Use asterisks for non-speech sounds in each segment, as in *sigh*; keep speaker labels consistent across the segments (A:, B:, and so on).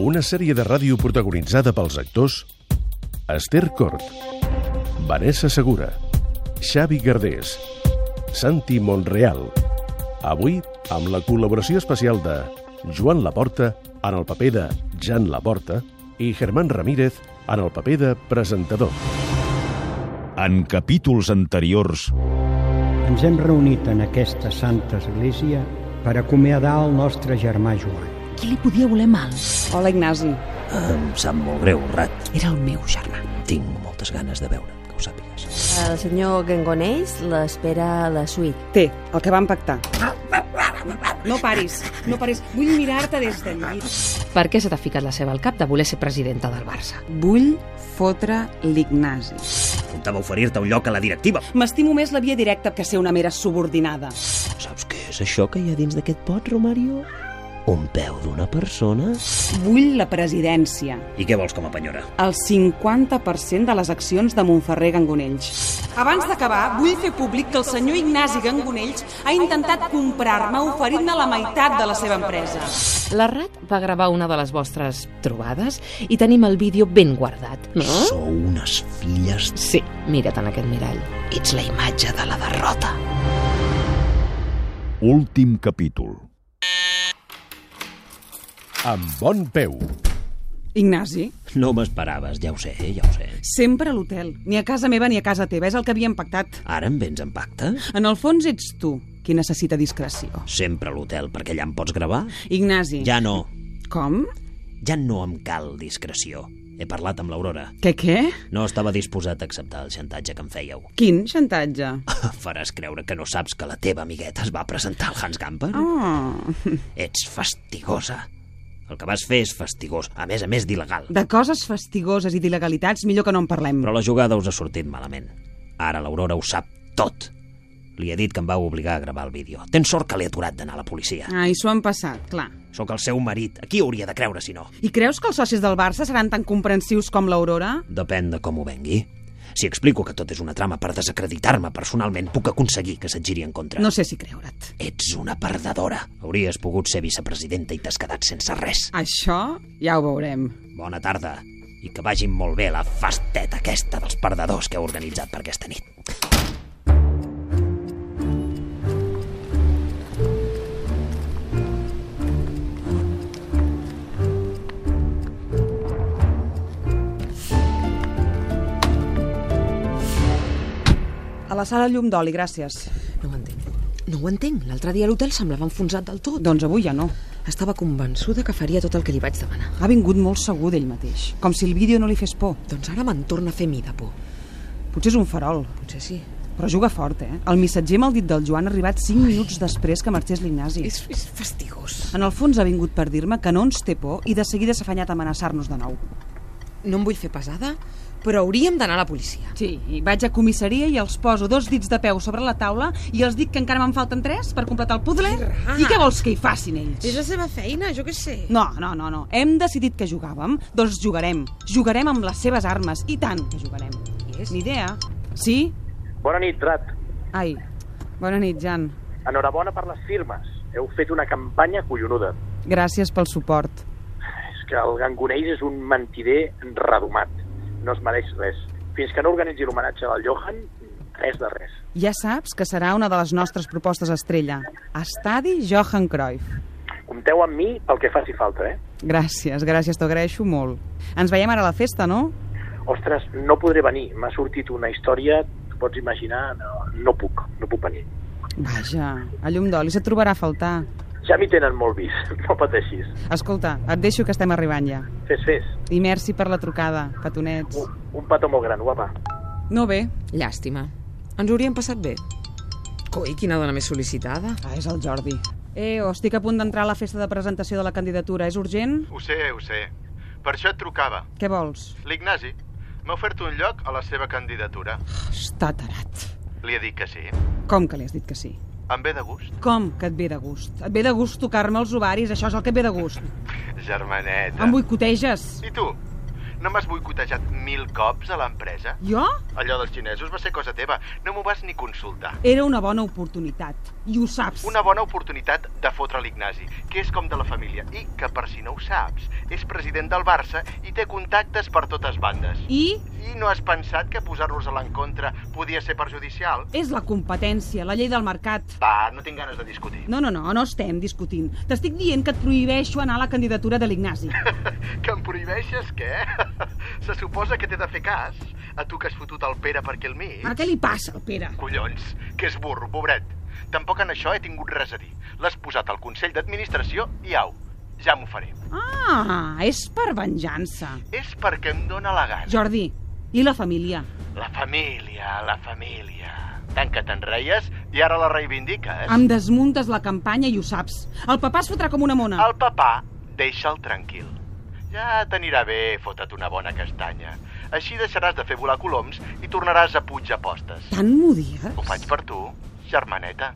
A: Una sèrie de ràdio protagonitzada pels actors Esther Cort, Vanessa Segura, Xavi Gardés, Santi Monreal. Avui, amb la col·laboració especial de Joan Laporta en el paper de Jan Laporta i Germán Ramírez en el paper de presentador.
B: En capítols anteriors...
C: Ens hem reunit en aquesta santa església per acomiadar el nostre germà Joan.
D: Qui li podia voler mal?
E: Hola, Ignasi.
F: Em sap molt greu, Rat.
D: Era el meu germà.
F: Tinc moltes ganes de veure't, que ho sàpigues.
G: El senyor Gangonells l'espera a la suite.
E: Té, el que vam pactar.
H: No paris, no paris. Vull mirar-te des del llit.
D: Per què se t'ha ficat la seva al cap de voler ser presidenta del Barça?
E: Vull fotre l'Ignasi.
F: Comptava oferir-te un lloc a la directiva.
E: M'estimo més la via directa que ser una mera subordinada.
F: Saps què és això que hi ha dins d'aquest pot, Romario? Un peu d'una persona?
E: Vull la presidència.
F: I què vols com a penyora?
E: El 50% de les accions de Montferrer Gangonells. Abans d'acabar, vull fer públic que el senyor Ignasi Gangonells ha intentat comprar-me oferint-me la meitat de la seva empresa.
D: La Rat va gravar una de les vostres trobades i tenim el vídeo ben guardat, no?
F: Sou unes filles...
D: Sí, mira't en aquest mirall. Ets la imatge de la derrota.
B: Últim capítol.
A: Amb bon peu.
E: Ignasi,
F: No m'esperaves, ja ho sé, ja ho sé.
E: sempre a l'hotel. Ni a casa meva ni a casa teva, és el que havíem pactat.
F: Ara em vens en pacte?
E: En el fons ets tu qui necessita discreció.
F: Sempre a l'hotel, perquè allà em pots gravar?
E: Ignasi.
F: Ja no.
E: Com?
F: Ja no em cal discreció. He parlat amb l'Aurora.
E: Què, què?
F: No estava disposat a acceptar el xantatge que em fèieu. *laughs*
E: Quin xantatge?
F: Faràs creure que no saps que la teva amigueta es va presentar al Hans Gamper?
E: Oh,
F: Ets fastigosa. El que vas fer és fastigós, a més a més d'il·legal.
E: de coses fastigoses i d'il·legalitats millor que no en parlem.
F: Però la jugada us ha sortit malament. Ara l'Aurora ho sap tot. Li he dit que em va obligar a gravar el vídeo. Tens sort que l'he aturat d'anar a la policia.
E: Ai, Ah, s'ho han passat, clar.
F: Sóc el seu marit. A qui hauria de creure, si no?
E: I creus que els socis del Barça seran tan comprensius com l'Aurora?
F: Depèn de com ho vengui. Si explico que tot és una trama per desacreditar-me personalment, puc aconseguir que se't giri en contra.
E: No sé si creure't.
F: Ets una perdedora. Hauries pogut ser vicepresidenta i t'has quedat sense res.
E: Això ja ho veurem.
F: Bona tarda i que vagin molt bé la festeta aquesta dels perdedors que heu organitzat per aquesta nit.
E: A la sala llum d'oli, gràcies.
D: No ho entenc. No ho entenc. L'altre dia a l'hotel semblava enfonsat del tot.
E: Doncs avui ja no.
D: Estava convençuda que faria tot el que li vaig demanar.
E: Ha vingut molt segur d'ell mateix, com si el vídeo no li fes por.
D: Doncs ara me'n torna a fer mi de por.
E: Potser és un farol,
D: Potser sí.
E: però juga fort, eh? El missatger maldit del Joan ha arribat 5 minuts després que marxés l'Ignasi.
D: És, és fastigós.
E: En el fons ha vingut per dir-me que no ens té por i de seguida s'ha afanyat a amenaçar-nos de nou.
D: No em vull fer pesada, però hauríem d'anar a la policia.
E: Sí, i vaig a comissaria i els poso dos dits de peu sobre la taula i els dic que encara me'n falten tres per completar el puzzle. I què vols que hi facin ells?
I: És la seva feina, jo què sé.
E: No, no, no, no. Hem decidit que jugàvem, doncs jugarem. Jugarem amb les seves armes, i tant que jugarem.
D: Yes.
E: Ni idea. Sí?
J: Bona nit, Rat.
E: Ai, bona nit, Jan.
J: Enhorabona per les firmes. Heu fet una campanya collonuda.
E: Gràcies pel suport.
J: És que el Gangonells és un mentider redomat. No es mereix res. Fins que no organitzi l'homenatge del Johan, res de res.
E: Ja saps que serà una de les nostres propostes estrella. Estadi Johan Cruyff.
J: Compteu amb mi pel que faci falta, eh?
E: Gràcies, gràcies, t'ho agraeixo molt. Ens veiem ara a la festa, no?
J: Ostres, no podré venir. M'ha sortit una història, t'ho pots imaginar, no, no puc, no puc venir.
E: Vaja, a llum d'oli se't trobarà a faltar.
J: Ja m'hi tenen molt vist, *laughs* no pateixis.
E: Escolta, et deixo que estem arribant ja.
J: Fes, fes.
E: I merci per la trucada, petonets.
J: Un, un petó molt gran, guapa.
E: No bé.
I: Llàstima. Ens hauríem passat bé. Coi, quina dona més sol·licitada.
E: Ah, és el Jordi. Eh, o estic a punt d'entrar a la festa de presentació de la candidatura. És urgent?
F: Ho sé, ho sé. Per això et trucava.
E: Què vols?
F: L'Ignasi m'ha ofert un lloc a la seva candidatura.
E: Està tarat.
F: Li he dit que sí.
E: Com que li has dit que sí?
F: Em ve de gust.
E: Com que et ve de gust? Et ve de gust tocar-me els ovaris, això és el que et ve de gust.
F: Germaneta.
E: Em boicoteges.
F: I tu? No m'has boicotejat mil cops a l'empresa?
E: Jo?
F: Allò dels xinesos va ser cosa teva. No m'ho vas ni consultar.
E: Era una bona oportunitat, i ho saps.
F: Una bona oportunitat de fotre l'Ignasi, que és com de la família, i que, per si no ho saps, és president del Barça i té contactes per totes bandes.
E: I?
F: I no has pensat que posar-los a l'encontre podia ser perjudicial?
E: És la competència, la llei del mercat.
F: Va, no tinc ganes de discutir.
E: No, no, no, no estem discutint. T'estic dient que et prohibeixo anar a la candidatura de l'Ignasi.
F: *laughs* Que em prohibeixes què? *laughs* Se suposa que t'he de fer cas. A tu que has fotut el Pere perquè el mig...
E: Ara què li passa al Pere?
F: Collons, que és burro, pobret. Tampoc en això he tingut res a dir. L'has posat al Consell d'Administració i au, ja m'ho faré.
E: Ah, és per venjança.
F: És perquè em dóna la gana.
E: Jordi, i la família?
F: La família, la família. Tant que te'n reies i ara la reivindiques.
E: Em desmuntes la campanya i ho saps. El papà es fotrà com una mona.
F: El papà, deixa'l tranquil. Ja t'anirà bé, fota't una bona castanya. Així deixaràs de fer volar coloms i tornaràs a Puig Apostes.
E: Tant m'ho dies?
F: Ho faig per tu, germaneta.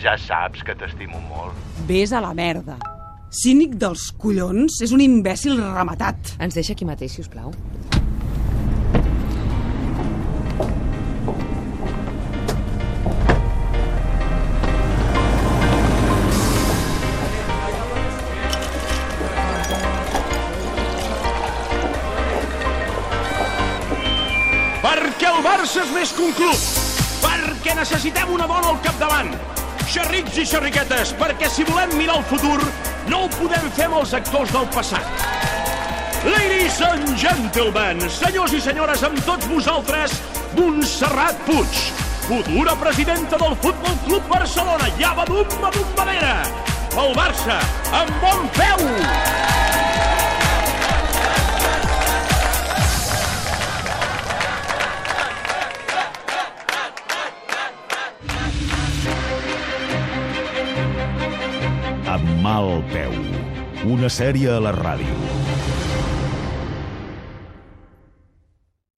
F: Ja saps que t'estimo molt.
E: Vés a la merda. Cínic dels collons, és un imbècil rematat.
D: Ens deixa aquí mateix, si us plau.
K: Perquè el Barça és més que un club. Perquè necessitem una dona al capdavant. Xerrics i xerriquetes, perquè si volem mirar el futur, no ho podem fer amb els actors del passat. Ladies and gentlemen, senyors i senyores, amb tots vosaltres, Montserrat Puig, futura presidenta del Futbol Club Barcelona. Ja badum, badum, badera. El Barça, amb bon peu.
B: Amb mal peu. Una sèrie a la ràdio.